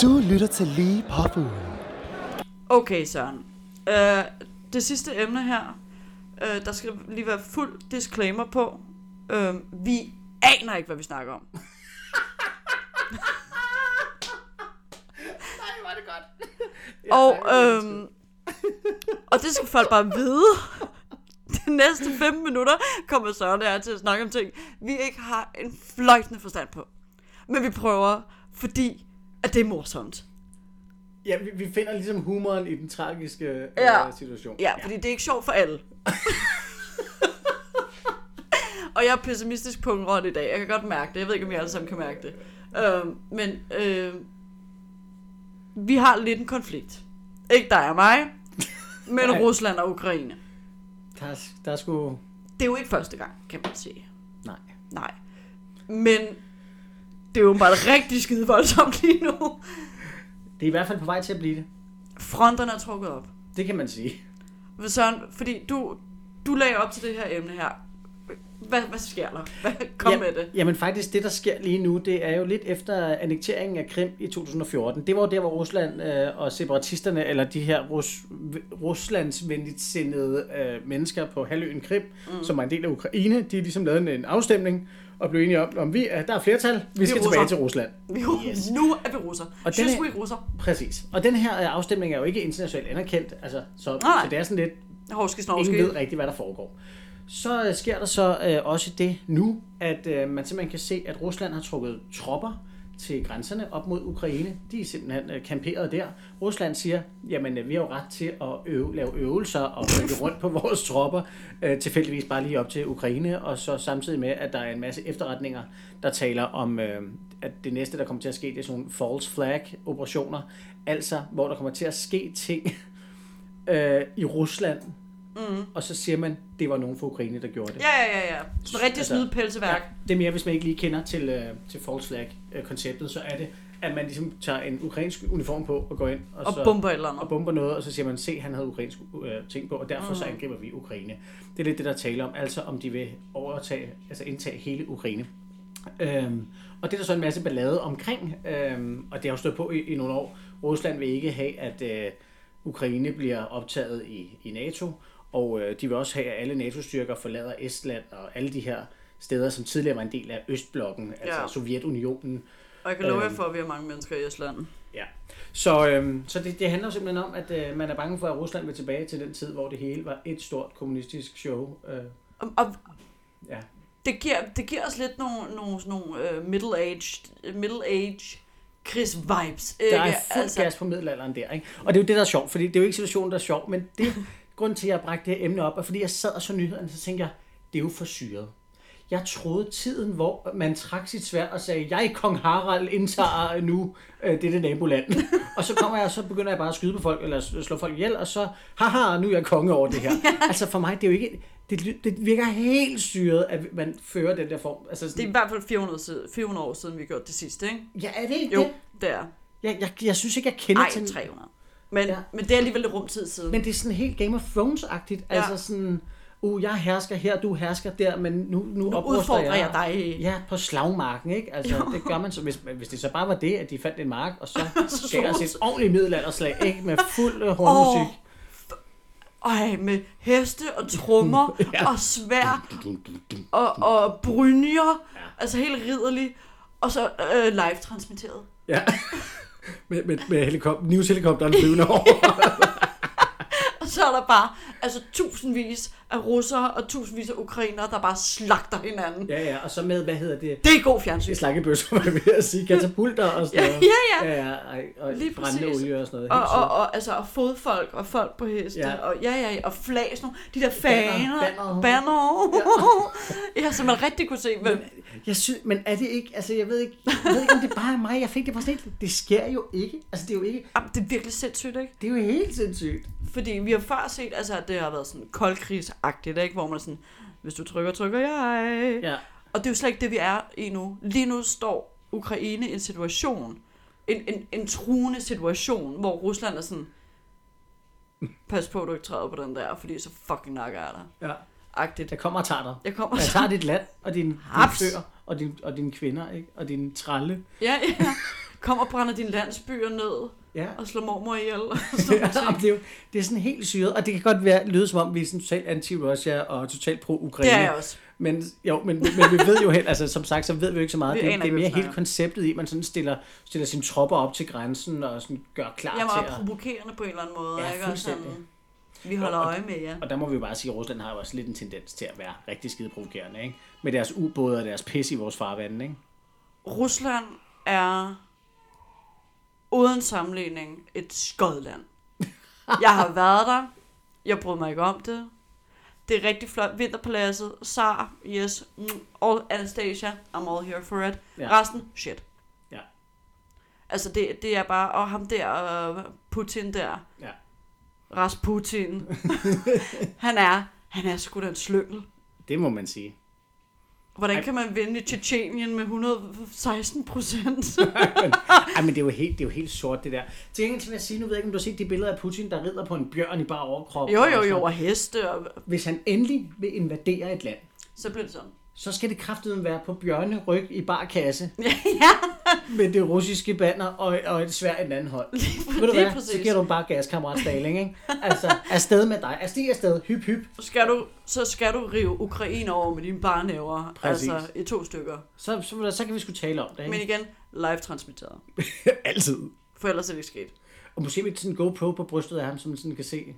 S3: Du lytter til Lige Påfuglen.
S1: Okay, Søren. Øh, det sidste emne her, øh, der skal lige være fuld disclaimer på. Øh, vi aner ikke, hvad vi snakker om.
S2: Nej, var det godt.
S1: Og, øh, og det skal folk bare vide. De næste 5 minutter kommer Søren og jeg til at snakke om ting, vi ikke har en fløjtende forstand på. Men vi prøver, fordi at det er morsomt.
S2: Ja, vi, vi finder ligesom humoren i den tragiske øh,
S1: Ja.
S2: situation.
S1: Ja, fordi det er ikke sjovt for alle. og jeg er pessimistisk på en rot i dag. Jeg kan godt mærke det. Jeg ved ikke, om I alle sammen kan mærke det. Øh, men øh, vi har lidt en konflikt. Ikke dig og mig, men
S2: Nej.
S1: Rusland og Ukraine.
S2: Der, er- der er sgu...
S1: Det er jo ikke første gang, kan man sige.
S2: Nej.
S1: Nej. Men det er jo bare rigtig skide voldsomt lige nu.
S2: Det er i hvert fald på vej til at blive det.
S1: Fronterne er trukket op.
S2: Det kan man sige.
S1: Hvad, Søren, fordi du, du lagde op til det her emne her. Hvad, hvad sker der? Hvad, kom
S2: ja,
S1: med det.
S2: Jamen faktisk, det der sker lige nu, det er jo lidt efter annekteringen af Krim i 2014. Det var jo der, hvor Rusland øh, og separatisterne, eller de her Rus- Ruslandsvenligt sindede øh, mennesker på halvøen Krim, mm. som var en del af Ukraine, de ligesom lavede en, en afstemning og blev enige om, om vi, at der er flertal, vi skal
S1: russer.
S2: tilbage til Rusland.
S1: Vi, yes. Nu er vi russer.
S2: Og
S1: Og
S2: den
S1: Synes
S2: er-
S1: vi er russer.
S2: Præcis. Og den her øh, afstemning er jo ikke internationalt anerkendt, altså, så,
S1: Nej.
S2: så det er sådan lidt,
S1: Horske
S2: Ingen ved
S1: snorske.
S2: rigtigt, hvad der foregår. Så øh, sker der så øh, også det nu, at øh, man simpelthen kan se, at Rusland har trukket tropper til grænserne op mod Ukraine. De er simpelthen øh, kamperet der. Rusland siger, jamen øh, vi har jo ret til at øve, lave øvelser og rykke rundt på vores tropper, øh, tilfældigvis bare lige op til Ukraine, og så samtidig med, at der er en masse efterretninger, der taler om, øh, at det næste, der kommer til at ske, det er sådan nogle false flag-operationer, altså hvor der kommer til at ske ting øh, i Rusland, og så siger man, det var nogen fra Ukraine, der gjorde det.
S1: Ja, ja, ja, ja. Sådan rigtig
S2: Altså,
S1: altså, snyde pelseværk.
S2: Det er mere, hvis man ikke lige kender til, øh, til false flag-konceptet, så er det, at man ligesom tager en ukrainsk uniform på og går ind og,
S1: Og
S2: så,
S1: bomber et eller andet.
S2: og bomber noget, og så siger man, se, han havde ukrainsk øh, ting på, og derfor så angriber vi Ukraine. Det er lidt det, der taler om, altså om de vil overtage, altså indtage hele Ukraine. Øhm, og det er der så en masse ballade omkring, øhm, og det har jo stået på i, i nogle år. Rusland vil ikke have, at øh, Ukraine bliver optaget i, i NATO, og øh, de vil også have, at alle NATO-styrker forlader Estland og alle de her steder, som tidligere var en del af Østblokken, altså
S1: Ja.
S2: Sovjetunionen.
S1: Og jeg kan love jer
S2: Øhm.
S1: for, at vi har mange mennesker i Estland.
S2: Ja. Så, øhm, så det, det handler jo simpelthen om, at øh, man er bange for, at Rusland vil tilbage til den tid, hvor det hele var et stort kommunistisk show. Øh,
S1: Og, og,
S2: ja.
S1: det giver, det giver os lidt nogle, nogle, sådan nogle øh, middle-aged, middle-age Chris vibes. Ikke?
S2: Der er fuld altså... gas på middelalderen der, ikke? Og det er jo det, der er sjovt, fordi det er jo ikke situationen, der er sjov, men det grund til, at jeg bragte det her emne op, er fordi jeg sad og så nyhederne, så tænkte jeg, det er jo for syret. Jeg troede tiden, hvor man trak sit svær og sagde, jeg kong Harald indtager nu øh, dette naboland. og så kommer jeg, og så begynder jeg bare at skyde på folk, eller slå folk ihjel, og så, haha, nu er jeg konge over det her. altså for mig, det er jo ikke, det, ly- det virker helt syret, at man fører den der form. Altså
S1: Det er
S2: sådan,
S1: i hvert fald 400, side- 400 år siden, vi gjorde det sidste, ikke?
S2: ja, er det ikke
S1: Jo,
S2: det?
S1: det er.
S2: Jeg, jeg, jeg synes ikke, jeg kender
S1: Ej,
S2: til
S1: 300. Men,
S2: Ja.
S1: ja. men det er alligevel lidt rumtid siden. Men,
S2: Men det er sådan helt Game of Thrones-agtigt. Ja.
S1: Ja.
S2: Altså sådan, uh, jeg hersker her, du hersker der, men nu, nu, nu
S1: udfordrer jeg dig.
S2: Ja, på slagmarken, ikke? Altså, jo. det gør man så. Hvis, hvis det så bare var det, at de fandt en mark, og så gav os et ordentligt middelalderslag, ikke? Med fuld øh, hornmusik.
S1: Ej, med heste og trommer ja. og svær og, og brynjer. Ja. Altså helt ridderlig. Og så øh, live transmitteret.
S2: Ja. med, med, med helikopter, News helikopteren flyvende over.
S1: Og så er der bare altså, tusindvis af russere og tusindvis af ukrainere, der bare slagter hinanden. Ja.
S2: ja, ja, og så med, hvad hedder det?
S1: Det er god fjernsyn.
S2: Det slankebøsser, var jeg ved at sige. Katapulter og sådan
S1: Ja,
S2: noget.
S1: ja, ja.
S2: ja, ja ej, og
S1: Lige
S2: brændende
S1: præcis.
S2: olie og sådan noget.
S1: Og,
S2: Helt
S1: og, og, altså, og fodfolk og folk på heste.
S2: Ja.
S1: Ja. Og, ja, ja, og flag, sådan nogle, de der
S2: Banner,
S1: faner.
S2: banner.
S1: banner. Ja. ja, så man rigtig kunne se, hvem...
S2: Jeg synes, men er det ikke, altså jeg ved ikke, jeg ved ikke, om det bare er mig, jeg fik det bare sådan helt, det sker jo ikke, altså det er jo ikke,
S1: Jamen, det er virkelig sindssygt, ikke?
S2: det er jo helt sindssygt.
S1: Fordi vi har før set, altså, at det har været sådan koldkrigsagtigt, ikke? Hvor man er sådan, hvis du trykker, trykker jeg.
S2: Ja,
S1: Og det er jo slet ikke det, vi er i nu. Lige nu står Ukraine i en situation, en, en, en truende situation, hvor Rusland er sådan, pas på, du ikke træder på den der, fordi så fucking nakker jeg dig.
S2: ja.
S1: Agtigt.
S2: Jeg kommer og tager dig.
S1: Jeg kommer
S2: Jeg tager dit land, og din, din
S1: Haps.
S2: før, og din, og din kvinder, ikke? og din tralle.
S1: Ja, ja. Kom og brænder dine landsbyer ned,
S2: Ja.
S1: og slår mormor ihjel. og sådan
S2: Ja,
S1: nogle ting.
S2: det, er jo, det er sådan helt syret, og det kan godt være, lyde som om, vi er sådan totalt anti-Russia og totalt
S1: det
S2: pro-Ukraine.
S1: er jeg også.
S2: Men, jo, men, men vi ved jo helt, altså som sagt, så ved vi jo ikke så meget.
S1: Vi
S2: Det, det
S1: aner
S2: er
S1: ikke,
S2: mere
S1: hvad vi
S2: helt
S1: snakker.
S2: konceptet i, at man sådan stiller, stiller sine tropper op til grænsen og sådan gør klar
S1: Jeg
S2: til
S1: var
S2: at...
S1: provokerende på en eller anden måde.
S2: Ja,
S1: ikke? Og sådan,
S2: fuldstændig.
S1: Vi holder
S2: Og- og-
S1: øje med jer.
S2: Og der må vi jo bare sige, at Rusland har jo også lidt en tendens til at være rigtig skide provokerende, ikke? Med deres ubåde og deres pis i vores farvande, ikke?
S1: Rusland er uden sammenligning et skodland. Jeg har været der. Jeg brød mig ikke om det. Det er rigtig flot. Vinterpaladset, Sar, yes, mm, all Anastasia, I'm all here for it.
S2: Ja.
S1: Ja. Resten, shit.
S2: Ja.
S1: Altså det, det er bare, og ham der, øh, Putin der,
S2: Ja.
S1: Rasputin, han er, han er sgu da en slyngel.
S2: Det må man sige.
S1: Hvordan
S2: Ej.
S1: kan man vinde i Tjetjenien med 116 procent?
S2: Ej, men det er jo helt, det er jo helt sort, det der. Til gengæld vil jeg sige, nu ved jeg ikke, om du har set de billeder af Putin, der rider på en bjørn i bare overkrop.
S1: Jo,
S2: og
S1: jo,
S2: sådan
S1: jo, og
S2: noget.
S1: heste, og
S2: Hvis han endelig vil invadere et land,
S1: så blev det sådan.
S2: så skal det kraftedeme være på bjørneryg i bar kasse
S1: Ja, ja,
S2: med det russiske banner og, og et svær i den anden hånd. Ved du
S1: lige
S2: hvad? Så
S1: præcis.
S2: giver du bare gas, kammerat Staling, ikke? Altså, afsted med dig. Afsted, afsted. Hyp, hyp.
S1: Skal du, så skal du rive Ukraine over med dine barnæver,
S2: Præcis.
S1: altså i to stykker.
S2: Så, så, så kan vi sgu tale om det,
S1: Men
S2: ikke?
S1: igen, live transmitteret.
S2: Altid.
S1: For ellers er det ikke sket.
S2: Og måske med sådan en GoPro på brystet af ham, som man sådan kan se.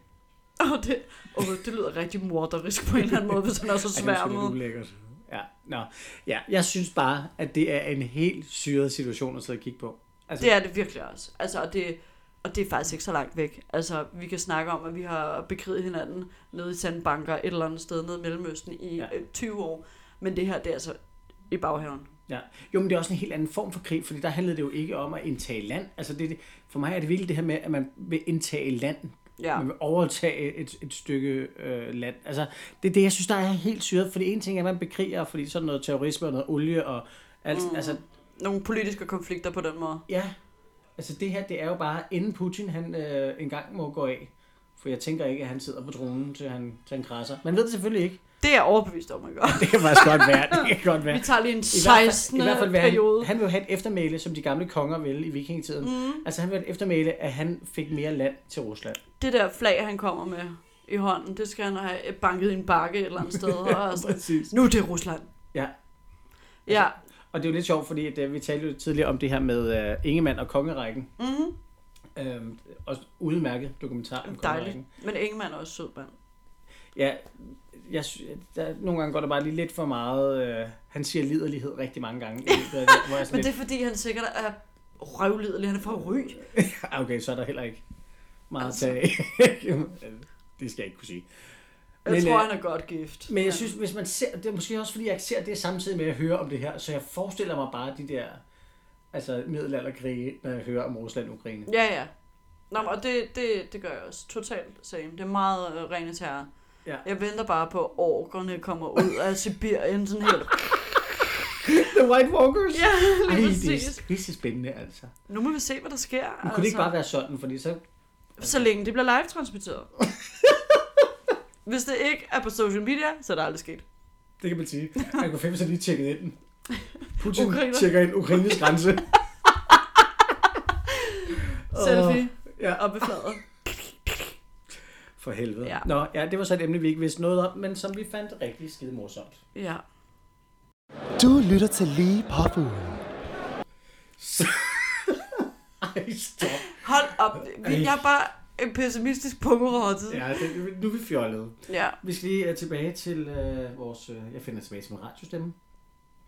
S1: Og det, og det lyder rigtig morderisk på en eller anden måde, hvis han er så svær med.
S2: ulækkert. Ja, nå. ja, jeg synes bare, at det er en helt syret situation at sidde og kigge på. Altså,
S1: Det er det virkelig også. Altså, og det, og det er faktisk ikke så langt væk. Altså, vi kan snakke om, at vi har bekriget hinanden nede i sandbanker et eller andet sted nede i Mellemøsten i
S2: Ja.
S1: ja. 20 år. Men det her, det er altså i baghaven.
S2: ja. Jo, men det er også en helt anden form for krig, fordi der handlede det jo ikke om at indtage land. Altså, det, er det- for mig er det virkelig det her med, at man vil indtage land.
S1: Ja.
S2: Man vil overtage et, et stykke øh, land. Altså, det er det, jeg synes, der er helt syret. For det ene ting er, at man bekriger, fordi sådan noget terrorisme og noget olie og alt. Mm. Altså,
S1: Nogle politiske konflikter på den måde.
S2: Ja, altså det her, det er jo bare, inden Putin han øh, engang må gå af. For jeg tænker ikke, at han sidder på tronen, til han, til han krasser. Man ved det selvfølgelig ikke.
S1: Det er jeg overbevist om, at gøre.
S2: Det kan faktisk godt være. Det kan godt være.
S1: Vi tager lige en
S2: I hvert fald-
S1: 16.
S2: i hvert fald vil
S1: periode.
S2: han, han vil jo have et eftermæle, som de gamle konger ville i vikingetiden. Mm. Altså han vil have et eftermæle, at han fik mere land til Rusland.
S1: Det der flag, han kommer med i hånden, det skal han have banket i en bakke et eller andet sted. Og sådan.
S2: Præcis.
S1: Nu er det Rusland.
S2: Ja, Altså,
S1: Ja,
S2: og det er jo lidt sjovt, fordi at, øh, vi talte jo tidligere om det her med øh, Ingemann og kongerækken. Mm-hmm. Øhm, også udmærket dokumentar om
S1: dejligt.
S2: kongerækken.
S1: Men Ingemann er også sød mand.
S2: Ja, jeg, sy- der, nogle gange går der bare lige lidt for meget... Øh, han siger liderlighed rigtig mange gange. i løbet af det, Hvor jeg
S1: Men
S2: sådan
S1: det
S2: lidt,
S1: er fordi, han sikkert er røvlidelig. Han er fra Ry.
S2: "Ah, okay, så er der heller ikke meget
S1: Altså.
S2: altså. at tage. af." det skal jeg ikke kunne sige.
S1: Jeg
S2: Men,
S1: tror,
S2: øh,
S1: han er godt gift.
S2: Men jeg
S1: Ja.
S2: synes, hvis man ser... Det er måske også, fordi jeg ikke ser det samtidig med, at jeg hører om det her. Så jeg forestiller mig bare de der... Altså middelalderkrige, når jeg hører om Rusland og Ukraine.
S1: Ja, ja. Nå, men og det, det, det gør jeg også. Totalt same. Det er meget øh, rene terror.
S2: Ja.
S1: Jeg venter bare på, at orkerne kommer ud af Sibirien sådan helt.
S2: The White Walkers!
S1: Ja,
S2: Ej,
S1: lige
S2: det
S1: præcis.
S2: er pisse spændende, altså. Nu
S1: Nu må vi se, hvad der sker. altså. Nu
S2: kunne det ikke bare være sådan, fordi så...
S1: Så længe det bliver live-transmitteret. Hvis det ikke er på social media, så er det aldrig sket.
S2: Det kan man sige. Man kunne fem så lige tjekket ind. Putin
S1: Ukraine.
S2: tjekker ind Ukraines grænse.
S1: Selfie
S2: ja.
S1: op ved fladet.
S2: For helvede.
S1: Ja.
S2: Nå, ja, det var så et emne, vi ikke vidste noget om, men som vi fandt rigtig skide morsomt.
S1: Ja.
S3: Du lytter til Lige Påfuglen.
S2: Så... Ej, stop.
S1: Hold op. Vi, jeg er bare en pessimistisk pungerottet. Ja.
S2: Ja, det, nu er vi fjollede.
S1: ja.
S2: Vi skal lige øh, tilbage til øh, vores... Øh, jeg finder tilbage til min radiostemme.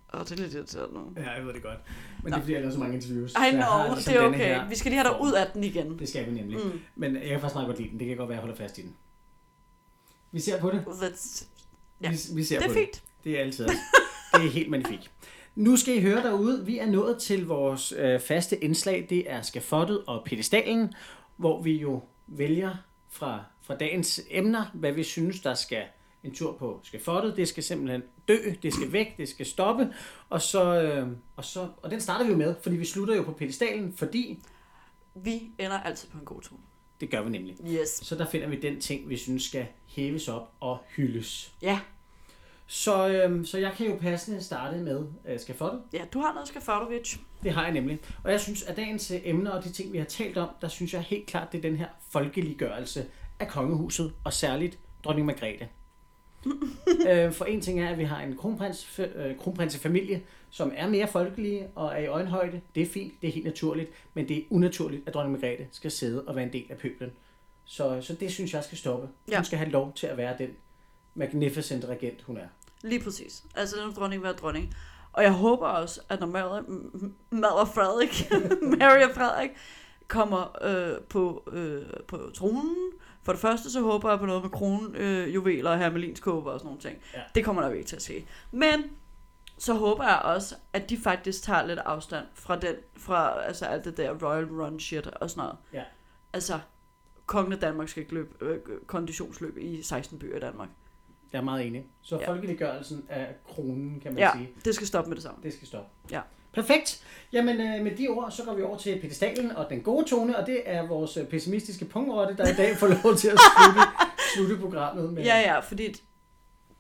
S1: Og det er lidt irriterende nu.
S2: Ja, jeg ved det godt. Men det
S1: Nå.
S2: er fordi, jeg har lavet så mange interviews. så
S1: I
S2: jeg
S1: know,
S2: har ligesom
S1: det er
S2: denne
S1: okay.
S2: her.
S1: Vi skal lige have dig ud af den igen.
S2: Det skal vi nemlig.
S1: Mm.
S2: Mm. Men jeg kan faktisk meget godt lide den. Det kan godt være, at jeg holder fast i den. Vi ser på det.
S1: That's, Ja.
S2: Ja. Vi, vi ser
S1: det
S2: på
S1: er fint.
S2: det. Det er altid. os. det er helt magnifikt. Nu skal I høre derude. Vi er nået til vores øh, faste indslag. Det er skafottet og pedestalen, hvor vi jo vælger fra, fra dagens emner, hvad vi synes, der skal en tur på skafottet. Det skal simpelthen dø, det skal væk, det skal stoppe. Og, så, øh, og, så, og den starter vi jo med, fordi vi slutter jo på pedestalen, fordi
S1: Vi ender altid på en god tone.
S2: det gør vi nemlig.
S1: Yes.
S2: Så der finder vi den ting, vi synes skal hæves op og hyldes.
S1: Ja,
S2: Så, øhm, så jeg kan jo passende starte med øh, skafottet.
S1: ja du har noget Skafadovic.
S2: Det har jeg nemlig. Og jeg synes, at dagens øh, emner og de ting, vi har talt om, der synes jeg helt klart, det er den her folkeliggørelse af kongehuset, og særligt dronning Margrethe. øh, for en ting er, at vi har en kronprins, øh, kronprinsefamilie, som er mere folkelige og er i øjenhøjde. Det er fint, det er helt naturligt, men det er unaturligt, at dronning Margrethe skal sidde og være en del af pøblen. Så, så det synes jeg skal stoppe. Ja.
S1: Ja.
S2: Hun skal have lov til at være den magnificent regent, hun er.
S1: Lige præcis. Altså, den dronning være dronning. Og jeg håber også, at når Mad Mad og Frederik, Mary og Frederik, kommer øh, på, øh, på tronen. For det første, så håber jeg på noget med kronjuveler øh, juveler og hermelinskåber og sådan nogle ting.
S2: Ja.
S1: Det kommer nok ikke til at ske. Men så håber jeg også, at de faktisk tager lidt afstand fra, den, fra altså, alt det der Royal Run shit og sådan noget.
S2: Ja.
S1: Altså, kongen af Danmark skal ikke løbe øh, konditionsløb i 16 byer i Danmark.
S2: Jeg er meget enig. Så
S1: Ja.
S2: ja. folkeliggørelsen af kronen, kan man
S1: Ja,
S2: sige.
S1: det skal stoppe med det samme.
S2: Det skal stoppe.
S1: Ja.
S2: Perfekt. Jamen øh, med de ord, så går vi over til pedestalen og den gode tone, og det er vores øh, pessimistiske pungrotte, der i dag får lov til at slutte, slutte programmet med.
S1: Ja, ja, fordi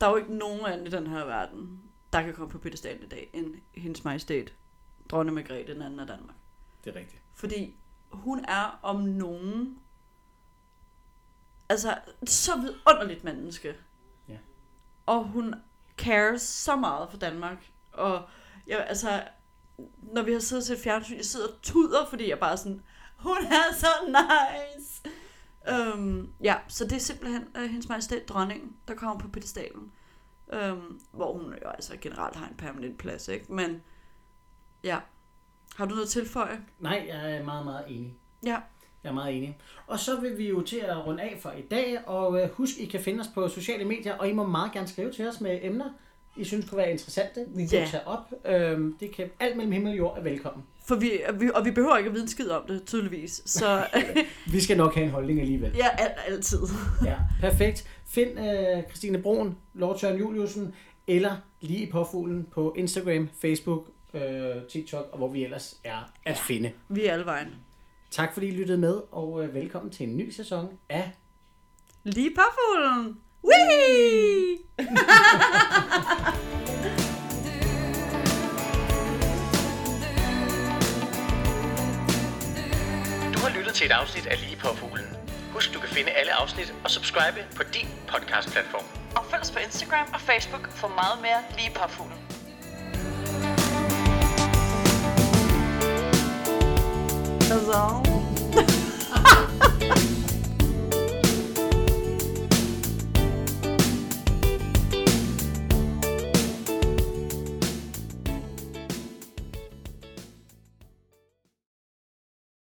S1: der er jo ikke nogen anden i den her verden, der kan komme på pedestalen i dag, end hendes majestæt, dronning Margrethe, den anden af Danmark.
S2: Det er rigtigt.
S1: Fordi hun er om nogen, altså, så vidunderligt menneske.
S2: Ja.
S1: Og hun cares så meget for Danmark. Og jeg, altså, når vi har siddet og set fjernsyn, jeg sidder og tuder, fordi jeg bare er sådan, hun er så nice. Øhm, ja, så det er simpelthen øh, hendes majestæt dronningen, der kommer på pedestalen. Øhm, hvor hun jo altså generelt har en permanent plads, ikke? Men ja, har du noget at tilføje?
S2: Nej, jeg er meget, meget enig.
S1: Ja.
S2: Jeg er meget enig. Og så vil vi jo til at runde af for i dag, og øh, husk, I kan finde os på sociale medier, og I må meget gerne skrive til os med emner, I synes kunne være interessante, vi kan
S1: Ja.
S2: tage op. Øhm, det kan alt mellem himmel og jord er velkommen.
S1: For vi, og vi, og vi behøver ikke at vide en skid om det, tydeligvis. Så
S2: Vi skal nok have en holdning alligevel.
S1: ja, alt, altid.
S2: Ja, perfekt. Find øh, Christine Broen, Lovtøren Juliusen, eller lige i påfuglen på Instagram, Facebook, øh, TikTok, og hvor vi ellers er at finde.
S1: Vi er alle vejen.
S2: Tak fordi I lyttede med, og øh, velkommen til en ny sæson af
S1: Lige parfuglen! Wee!
S4: Du har lyttet til et afsnit af Lige på Fuglen. Husk, du kan finde alle afsnit og subscribe på din podcastplatform.
S5: Og følg os på Instagram og Facebook for meget mere lige parfumen.
S1: As always.